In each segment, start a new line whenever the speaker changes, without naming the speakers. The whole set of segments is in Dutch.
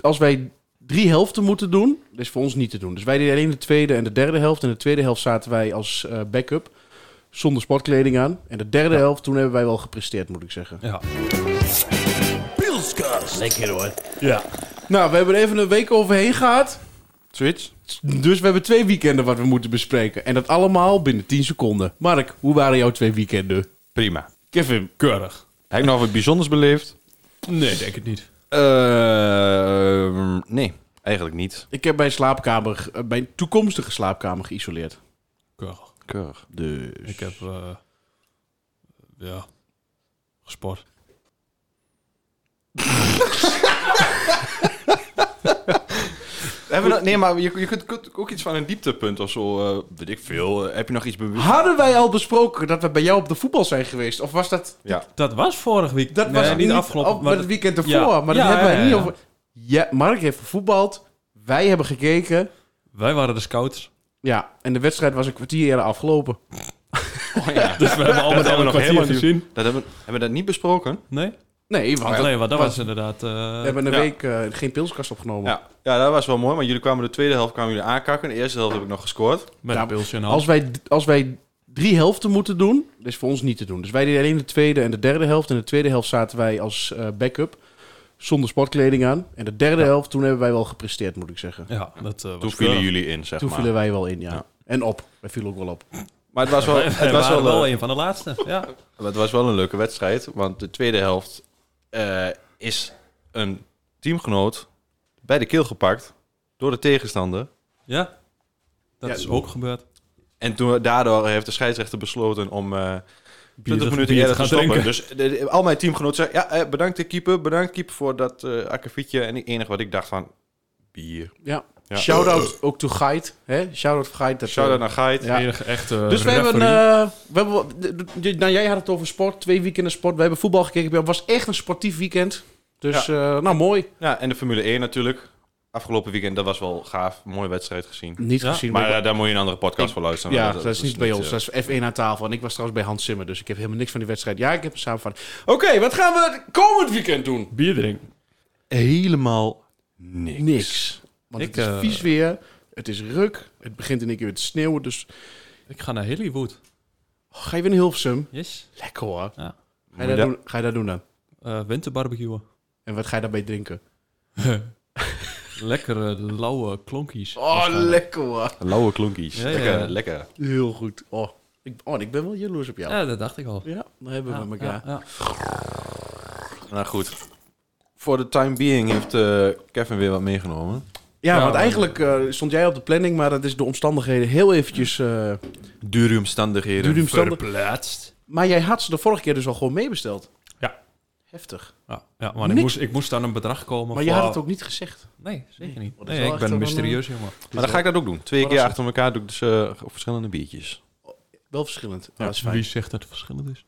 als wij drie helften moeten doen, dat is voor ons niet te doen. Dus wij deden alleen de tweede en de derde helft. En de tweede helft zaten wij als eh, backup zonder sportkleding aan. En de derde helft, toen hebben wij wel gepresteerd, moet ik zeggen.
Ja.
Lekker hoor.
ja.
Nou, we hebben er even een week overheen gehad. Switch. Dus we hebben twee weekenden wat we moeten bespreken. En dat allemaal binnen 10 seconden. Mark, hoe waren jouw twee weekenden?
Prima.
Kevin.
Keurig.
Heb ik nog wat bijzonders beleefd?
Nee, denk het niet.
Eh, nee, eigenlijk niet.
Ik heb mijn slaapkamer, eh, mijn toekomstige slaapkamer geïsoleerd.
Keurig.
Keurig.
Dus.
Ik heb, eh, ja, gesport.
Hebben we nog- nee, maar je, je kunt kunt ook iets van een dieptepunt of zo, eh, weet ik veel. Eh, heb je nog iets bewust?
Hadden wij al besproken dat we bij jou op de voetbal zijn geweest? Of was dat...
Ja.
Dat was vorig week.
Dat
nee,
was
niet afgelopen.
oh, maar
maar
het
dat-
weekend ervoor.
ja.
Maar dat
Ja,
hebben wij
ja,
niet
ja.
over... Ja, Mark heeft gevoetbald. Wij hebben gekeken.
wij waren de scouts.
Ja, en de wedstrijd was een kwartier eerder afgelopen.
Oh, ja.
Dus we hebben al met
hebben we
al een
nog
kwartier
helemaal niet-
gezien.
Dat hebben, hebben we dat niet besproken?
Nee?
Nee, want
nee, want dat
maar-
was inderdaad... eh,
we hebben een
Ja.
week eh, geen pilskast opgenomen.
Ja. ja, dat was wel mooi. Maar jullie kwamen de tweede helft kwamen jullie aankakken. De eerste helft heb ik nog gescoord.
met
Ja,
een pilsje in de hand.
Als wij, als wij drie helften moeten doen, dat is voor ons niet te doen. Dus wij deden alleen de tweede en de derde helft. En de tweede helft zaten wij als eh, backup zonder sportkleding aan. En de derde helft, toen hebben wij wel gepresteerd, moet ik zeggen.
Ja, dat eh, was
Toen vielen
keurig.
jullie in, zeg
Toen
maar.
vielen wij wel in, ja.
Ja.
En op. Wij vielen ook wel op.
Maar het was wel,
Wij-
het
wij
was
waren
wel, eh,
wel een van de laatste, ja.
Maar Het was wel een leuke wedstrijd, want de tweede helft eh, is een teamgenoot bij de keel gepakt door de tegenstander.
Ja, dat
Ja,
is ook gebeurd.
En toen, daardoor heeft de scheidsrechter besloten om eh 20
bier
minuten
te
eerder te
gaan
stoppen.
drinken.
Dus de- de- al mijn teamgenoten zeiden, ja, eh, bedankt de keeper, bedankt keeper voor dat eh akkefietje. En het enige wat ik dacht van, bier.
Ja.
Ja.
Shout-out ook to Geit. hè? Shout-out voor Geit. dat,
Shout-out
eh,
naar Geit.
Ja.
Enige echte
Dus we hebben,
referee.
eh, we hebben... wel- de- de- de- Nou, jij had het over sport. Twee weekenden sport. We hebben voetbal gekeken. Het was echt een sportief weekend. Dus, eh, nou, mooi.
Ja, en de Formule 1 natuurlijk. Afgelopen weekend, dat was wel gaaf. Mooie wedstrijd gezien.
Niet
Ja,
gezien.
Maar
ik-
eh, daar moet je een andere podcast voor luisteren.
Ja,
want
dat, is niet bij ons.
eh,
Dat is F1 aan tafel. En ik was trouwens bij Hans Zimmer, dus ik heb helemaal niks van die wedstrijd. Ja, ik heb een samenvatting. Oké, wat gaan we het komend weekend doen?
Bier drinken.
helemaal niks.
Niks. Want
Ik,
het is
eh,
vies weer. Het is ruk. Het begint in één keer weer te sneeuwen. Dus
Ik ga naar Hollywood.
Oh, ga je weer naar Hilversum?
Yes.
Lekker hoor.
Ja.
Ga je, dat doen, ga je dat doen dan?
Eh winterbarbecuen.
En wat ga je daarbij drinken?
Lekkere eh, lauwe klonkies.
Oh, lekker hoor.
Lauwe klonkies.
Ja, ja,
lekker,
ja.
lekker.
Heel goed. Oh, ik, oh, en ik ben wel jaloers op jou. Ja,
Ja, dat dacht ik al.
dan hebben we
Ja,
elkaar.
ja, ja.
Nou goed. Voor de time being heeft eh, Kevin weer wat meegenomen.
Ja,
Ja,
want
maar-
eigenlijk eh, stond jij op de planning, maar dat is de omstandigheden heel eventjes... eh,
Dure omstandigheden.
Dure omstandigheden.
Verplaatst.
maar jij had ze de vorige keer dus al gewoon meebesteld.
Ja.
Heftig.
Ja, ja want ik
Niks.
moest, ik moest aan een bedrag komen.
Maar je had
voor-
het ook niet gezegd.
Nee, zeker niet.
dat is
Nee,
wel
ik
echt
ben
wel
mysterieus, jongen.
Maar dan ga ik dat ook doen. Twee keer
Verrassend.
achter elkaar doe ik dus eh, verschillende biertjes.
Wel verschillend. Ja, dat is
Wie
fijn.
zegt dat het verschillend is?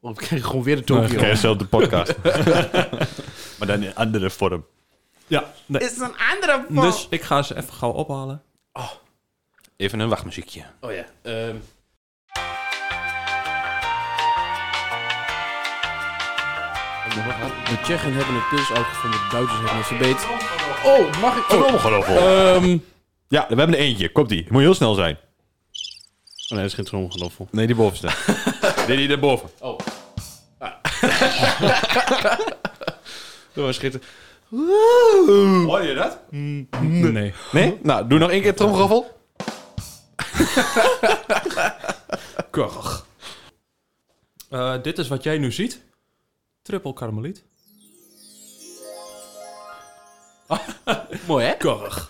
Of ik krijg gewoon weer de Tokio.
zelf de podcast. maar dan in andere vorm.
Ja, nee.
is een andere
Dus ik ga ze even gauw ophalen.
Even een wachtmuziekje.
Oh ja. ehm. De Tsjechen hebben het pils uitgevonden, de Duitsers hebben het verbeterd. Oh, mag ik? Oh,
Tromgeroffel.
Ehm.
ja, we hebben er eentje. Komt die. Moet heel snel zijn.
nee, dat is geen tromgeloffel.
Nee, die bovenste. nee, die daarboven.
Oh. Ah. Dat was schitterend.
Hoor je dat?
Nee.
Nee? Nou, doe nog één keer tromgeroffel.
Keurig. Eh, dit is wat jij nu ziet. Triple karmeliet.
Mooi, hè?
Keurig.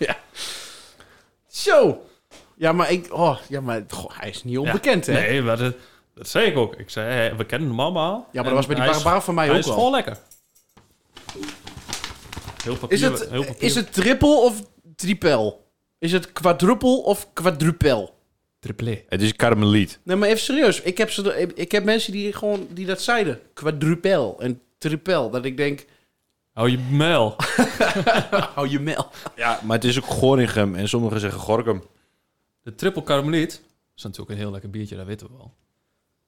Zo. Ja, maar ik... Oh, ja, maar goh, hij is niet onbekend, hè?
Nee, maar dat, dat zei ik ook. Ik zei, hey, we kennen hem allemaal. Ja,
maar dat was bij die barbaar van mij ook
Hij is
al.
gewoon lekker. Heel papier.
Is het,
heel papier.
is het triple of tripel? Is het quadruple of quadrupel?
triple? E.
Het is karmeliet.
Nee, maar even serieus. Ik heb, ze, ik- ik heb mensen die, gewoon, die dat zeiden. Quadrupel en tripel. Dat ik denk,
Hou je mijl.
hou je mel.
Ja, maar het is ook Gorinchem en sommigen zeggen Gorkum.
De triple karmeliet is natuurlijk een heel lekker biertje, dat weten we wel.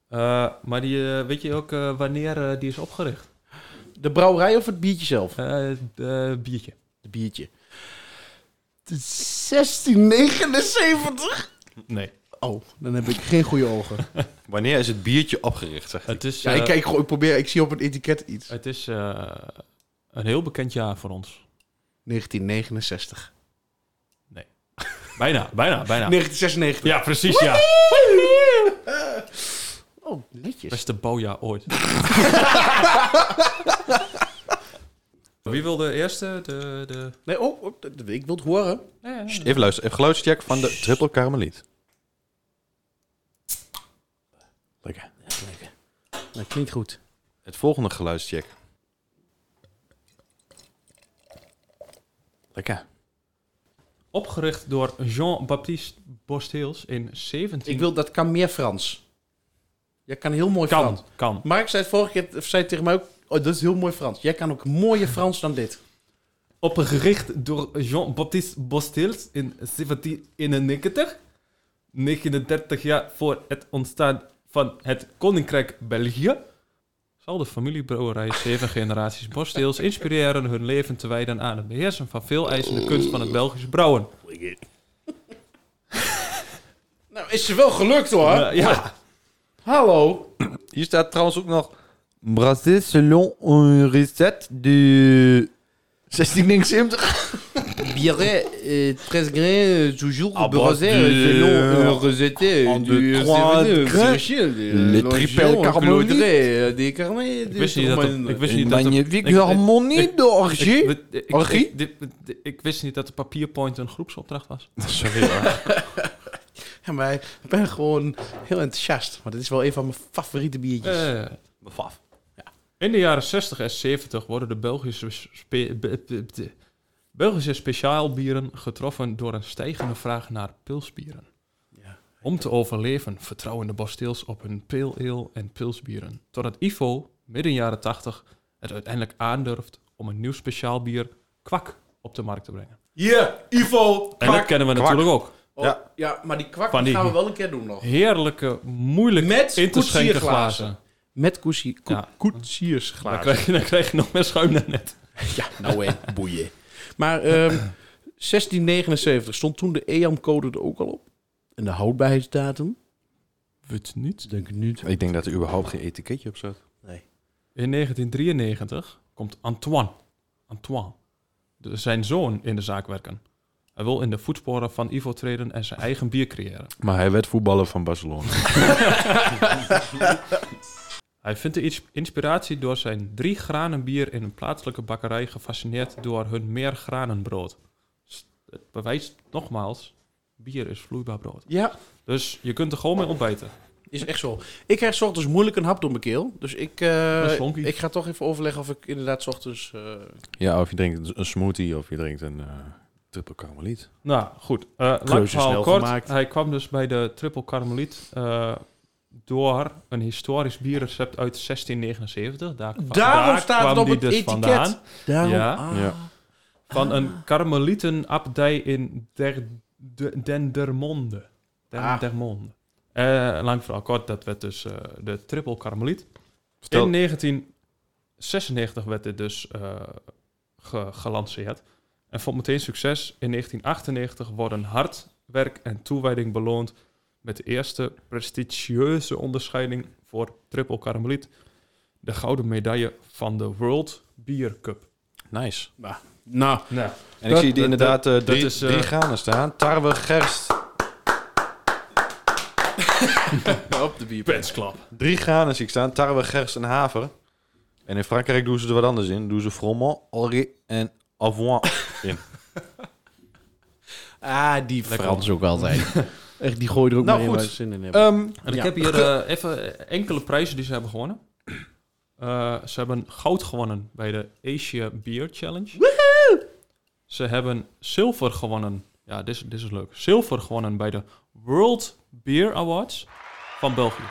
Eh, maar die, eh, weet je ook eh, wanneer eh, die is opgericht?
De brouwerij of het biertje zelf?
Eh, eh, biertje.
Het biertje. Het is 1679.
Nee.
Oh, dan heb ik geen goede ogen.
Wanneer is het biertje opgericht, zeg ik?
Het is,
Ja,
eh,
ik kijk gewoon, ik probeer, ik zie op het etiket iets.
het is eh, een heel bekend jaar voor ons.
1969.
Bijna, bijna, bijna.
1996.
Ja, precies, ja.
Oh, netjes.
Beste bouwjaar ooit. Wie wil de eerste? De, de...
Nee, oh, oh, dat- dat- ik wil het horen.
Sst, Even luisteren, even geluidscheck van de triple karameliet.
Lekker. Lekker. Dat klinkt goed.
Het volgende geluidscheck.
Lekker.
Opgericht door Jean-Baptiste Bosteels in 17...
Ik wil, dat kan meer Frans. Jij kan heel mooi Frans.
Kan, kan.
Mark zei het vorige keer of zei tegen mij ook, oh, dat is heel mooi Frans. Jij kan ook mooier Frans dan dit.
Opgericht door Jean-Baptiste Bostils in 1791. 39 jaar voor het ontstaan van het Koninkrijk België. Zal de familiebrouwerij zeven generaties Bostils inspireren hun leven te wijden aan het beheersen van veel eisende kunst van het Belgische brouwen.
Nou, is ze wel gelukt hoor.
Eh, ja,
Hallo.
Hier staat trouwens ook nog... Brasé selon un reset du... 1679.
Bière, uh, tres grains, toujours
Ah, brasé, brasé, euh, selon, euh, euh,
reseté.
en du- de trois c'est
euh,
vrai, grains, c'est les triples Longeon, carmelites.
des carmets.
ik wist niet dat... de- Ik wist niet dat de-
Magnifique
ik-
harmonie
ik-
d'orgie.
ik- ik- ik-
Orgie?
ik- dit- dit- Ik wist niet dat de papierpoint een groepsopdracht was.
Sorry hoor.
Ja, maar ik ben gewoon heel enthousiast. Want dit is wel een van mijn favoriete biertjes.
Eh,
Befaf.
In de jaren 60 en 70 worden de Belgische, spe- be- be- de Belgische speciaalbieren getroffen door een stijgende vraag naar pilsbieren.
Ja.
Om te overleven vertrouwen de Bosteels op hun pale ale en pilsbieren. Totdat Ivo, midden jaren 80, het uiteindelijk aandurft om een nieuw speciaalbier, kwak, op de markt te brengen.
Hier, Ivo.
En dat kennen we
kwak.
natuurlijk ook.
ja. Oh, ja, maar die kwak
Van
die
die-
gaan we wel een keer doen nog.
Heerlijke, moeilijk
Met
in te schenken
koetsierglazen.
glazen.
Met koesie, ko
Ja. Dan
koetsiersglazen.
krijg, je, dan krijg je nog meer schuim naar net.
Ja, nou hè, boeien. Maar ehm, 1679 stond toen de E EAM-code er ook al op. En de houdbaarheidsdatum?
Weet niet.
Denk ik
eh,
niet.
Ik denk dat er überhaupt geen etiketje op staat.
In 1993 komt Antoine, Antoine, de- zijn zoon, in de zaak werken. Hij wil in de voetsporen van Ivo treden en zijn eigen bier creëren.
Maar hij werd voetballer van Barcelona.
Hij vindt de ins- inspiratie door zijn drie granen bier in een plaatselijke bakkerij gefascineerd door hun meer granenbrood. S- Het bewijst nogmaals, bier is vloeibaar brood.
Ja,
Dus je kunt er gewoon mee ontbijten.
is echt zo. Ik krijg 's ochtends moeilijk een hap door mijn keel. Dus ik, eh,
Dat is lonkie.
ik ga toch even overleggen of ik inderdaad 's ochtends... eh,
Ja, of je drinkt een smoothie of je drinkt een eh triple karameliet.
Nou, goed. Eh lang
Keuze
verhaal
snel
kort.
gemaakt.
Hij kwam dus bij de Triple Carmeliet eh, door een historisch bierrecept uit 1679. Daar,
Daarom
daar
staat het
kwam
op
die
het
dus
etiket.
vandaan.
daarom...
Ja.
ah.
Ja.
Van een karmelietenabdij in Der, de, Dendermonde.
Ah.
Dendermonde. Eh, lang verhaal kort, dat werd dus eh, de Triple Carmeliet.
Vertel.
In 1996 werd dit dus eh, ge- gelanceerd. En vond meteen succes. In 1998 worden hard werk en toewijding beloond met de eerste prestigieuze onderscheiding voor Triple Carmeliet. De gouden medaille van de World Beer Cup.
Nice.
Nou,
Nou,
En
Dat-
ik zie die
dat-
inderdaad eh,
dat
drie,
is, eh,
drie granen staan. Tarwe, gerst.
op de bier.
petsklap.
Drie granen zie ik staan. Tarwe, gerst en haver. En in Frankrijk doen ze er wat anders in. Doen ze froment, orge en avoine.
Ah, die Frans ook altijd. echt, die gooi er ook
Nou,
maar in
goed.
waar ze zin in hebben.
Ehm,
En ik
Ja.
heb hier eh, even enkele prijzen die ze hebben gewonnen. Eh, ze hebben goud gewonnen bij de Asia Beer Challenge. Ze hebben zilver gewonnen. Ja, dit is, dit is leuk. Zilver gewonnen bij de World Beer Awards van België.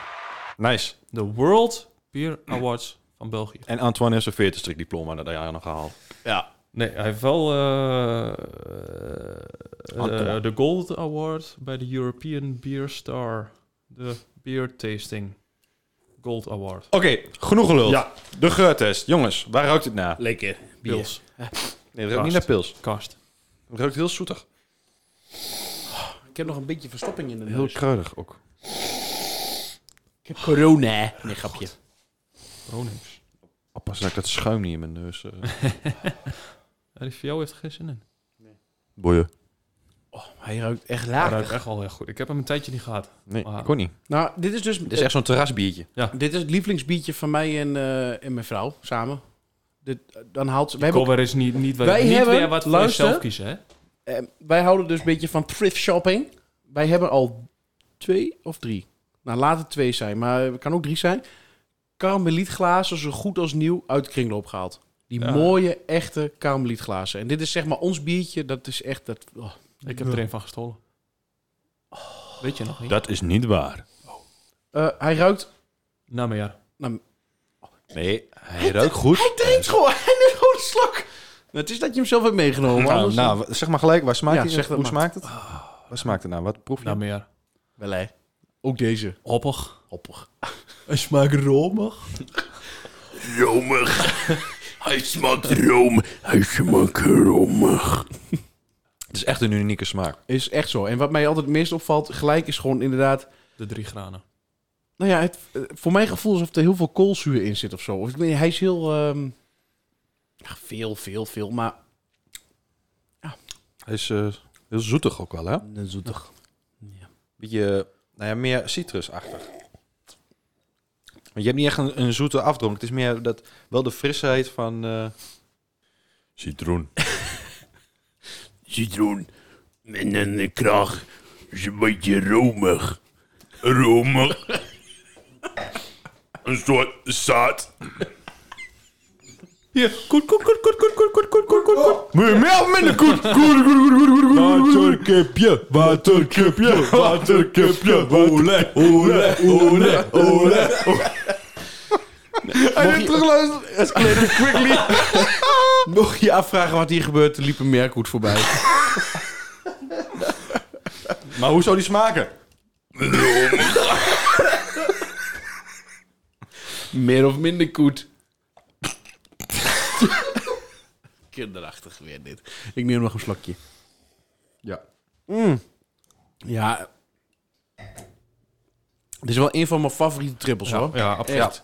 nice.
De World Beer Awards van België.
En Antoine heeft zijn 40 diploma dat jaar nog gehaald.
Nee, hij heeft wel eh, eh,
Antoine.
de Gold Award bij de European Beer Star. De Beer Tasting Gold Award.
Oké, genoeg gelul.
Ja.
De geurtest. Jongens, waar ruikt het naar?
Eh, Lekker.
Pils.
Nee, dat ruikt niet
Kast.
naar pils.
Kast.
Het ruikt heel zoetig.
Ik heb nog een beetje verstopping in de
Heel
neus.
kruidig ook.
Ik heb corona. Nee, grapje.
Ronings.
Oppas Oh, dat ik dat schuim niet in mijn neus. eh,
Ja, die voor jou heeft er geen zin in.
Boeien.
Oh, Hij ruikt echt
Hij
laag.
ruikt echt wel heel goed. Ik heb hem een tijdje niet gehad.
Nee,
Ah.
ik kon niet.
Nou, dit is dus...
Dit is echt zo'n terrasbiertje.
Dit is het lievelingsbiertje van mij en, eh, en mijn vrouw samen. Dit, eh, dan haalt ze, wij, hebben,
Kober is niet, niet, wat-
Wij
niet
hebben-
weer wat voor
luister.
jezelf kiezen, hè?
ook- eh, wij houden dus een beetje van thrift shopping. Wij hebben al twee of drie. Nou, laat het twee zijn, maar het kan ook drie zijn. Karmelietglazen, zo goed als nieuw, uit de kringloop gehaald. Die
Ja.
mooie, echte karmelietglazen. En dit is zeg maar ons biertje. Dat is echt... Dat, oh.
Ik heb er een van gestolen. Weet je nog niet?
Dat is niet waar.
Eh, hij ruikt...
Nou, maar ja.
Nee, hij ruikt goed.
Hij drinkt gewoon. Hij neemt gewoon een slok. Nou, het is dat je hem zelf hebt meegenomen.
Nou,
anders-
nou, zeg maar gelijk, waar smaakt
Ja,
hij?
zeg dat
Hoe
maar.
smaakt het? Wat smaakt het nou? Wat proef je?
Nou, maar ja.
Wel, hè. Ook deze.
Hoppig.
Hoppig.
Een smaak romig.
Romig. Hij smaakt room. Hij smaakt romig.
Het is echt een unieke smaak.
Is echt zo. En wat mij altijd het meest opvalt, gelijk is gewoon inderdaad...
De drie granen.
Nou ja, het, eh, voor mijn gevoel alsof er heel veel koolzuur in zit of zo. Of, ik weet niet, hij is heel... ehm, ja, veel, veel, veel, maar...
Hij is eh, heel zoetig ook wel, hè?
Zoetig. Ja.
Beetje, eh, nou ja, meer citrusachtig. Want je hebt niet echt een, een zoete afdronk. Het is meer dat, wel de frisheid van... eh, Citroen.
citroen en een kraag is een beetje romig. Romig. een soort zaad.
Hier, koet, koet, koet, koet, koet, koet, koet, koet, koet, koet, koet.
Moet je melk met een koet? Koet, koet, koet, koet, koet, koet, Waterkipje, waterkipje, waterkipje. Ole, ole, ole, ole.
Mocht je, mocht je afvragen wat hier gebeurt, liep een merkhoed voorbij.
Maar hoe zou die smaken?
Meer of minder koet. Kinderachtig weer dit. Ik neem nog een slokje.
Ja.
Ja. Dit is wel een van mijn favoriete trippels, hoor.
Ja,
Echt.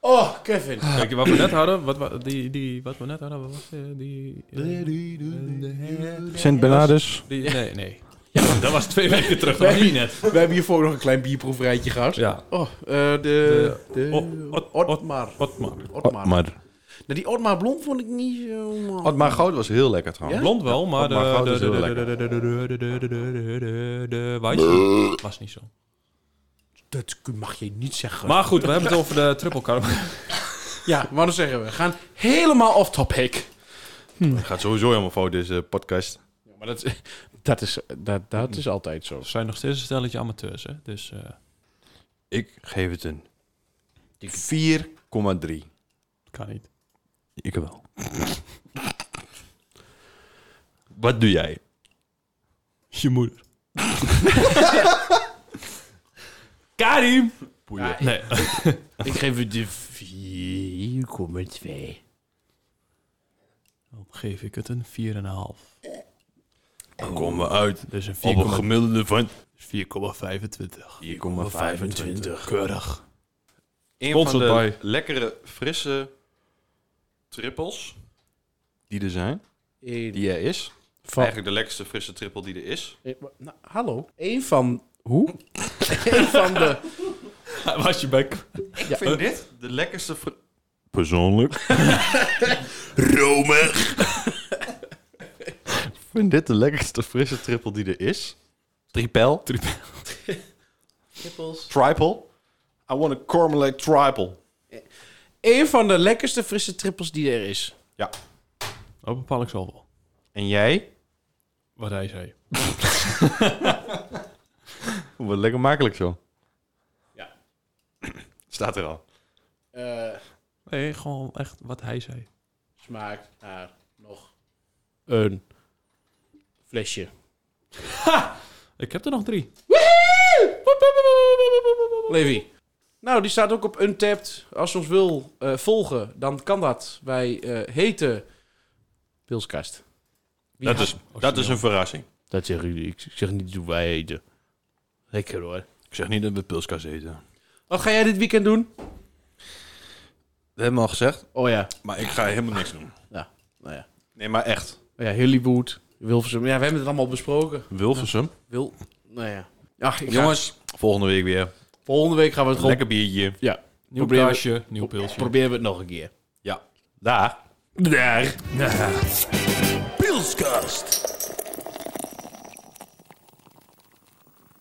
Oh, Kevin.
Kijk, wat we net hadden, wat, we- die, die, wat we net hadden, wat was eh, die... eh,
Sint Bernardus.
die nee, nee. Ja, dat was twee weken terug, dat
Nee.
was niet net.
We hebben hiervoor ook nog een klein bierproefrijtje gehad.
Ja.
Oh, eh, de... de,
O- Ot-
Otmar.
Wat maar.
Otmar. Nou, die Otmar Blond vond ik niet zo...
Otmar Goud was heel lekker trouwens.
Blond wel, maar de...
maar goud
de-
is heel
de-
lekker.
de- de- de- de- de- de- de- de- de- de- Weizen was niet zo.
Dat mag je niet zeggen.
Maar goed, we hebben het over de triple carb.
ja, maar dan zeggen we. We gaan helemaal off-topic.
Het gaat sowieso helemaal fout, deze eh, podcast.
Ja, maar dat, is- dat, is, dat, dat is altijd zo.
We zijn nog steeds een stelletje amateurs, hè. Dus eh,
Ik geef het een 4,3.
dat kan niet.
Ik wel. Wat doe jij?
Je moeder. Karim!
Boeien.
Nee.
Ik geef het de 4,2.
Dan geef ik het een 4,5.
Dan komen we uit
Dus een 4,25.
op een gemiddelde van
4,25.
Keurig.
Een van
Sponsored
de
by.
lekkere, frisse trippels die er zijn.
Eén
Die er is.
van...
Eigenlijk de lekkerste frisse trippel die er is.
Eh, wa- nou, hallo. Eén van... Hoe? Eén van de...
Was je bij...
Ik vind dit de lekkerste... fr-
Persoonlijk. romig.
Ik vind dit de lekkerste frisse trippel die er is. Tripel. Tripel.
Trippels.
Tripel. I want a Cormelette tripel.
Eén van de lekkerste frisse trippels die er is.
Ja.
Dat bepaal ik zo wel.
En jij?
Wat hij zei.
Wat lekker makkelijk zo. Ja. Staat er al.
Eh,
Nee, gewoon echt wat hij zei.
smaakt naar nog een flesje.
Ik heb er nog drie.
Levi. Nou, die staat ook op Untapped. Als je ons wil eh, volgen, dan kan dat. Wij eh, heten Pilskast.
Dat is,
Oh,
dat is een verrassing.
Dat zeg ik niet. Ik zeg niet hoe wij eten. Lekker hoor.
Ik zeg niet dat we pilskas eten.
Wat ga jij dit weekend doen?
Dat hebben we al gezegd.
Oh ja.
Maar ik ga helemaal niks doen.
Ja, nou ja.
Nee, maar echt.
Oh ja, Hollywood, Wilversum. Ja, we hebben het allemaal besproken.
Wilversum.
Wil... Nou ja. Ach, ik ga-
Jongens, volgende week weer.
volgende week gaan we het gewoon...
Lekker biertje.
Ja.
Nieuw
Proberen we-
kaasje, nieuw pilsje.
Proberen we het nog een keer.
Ja. Daar.
Daar.
Pilskast.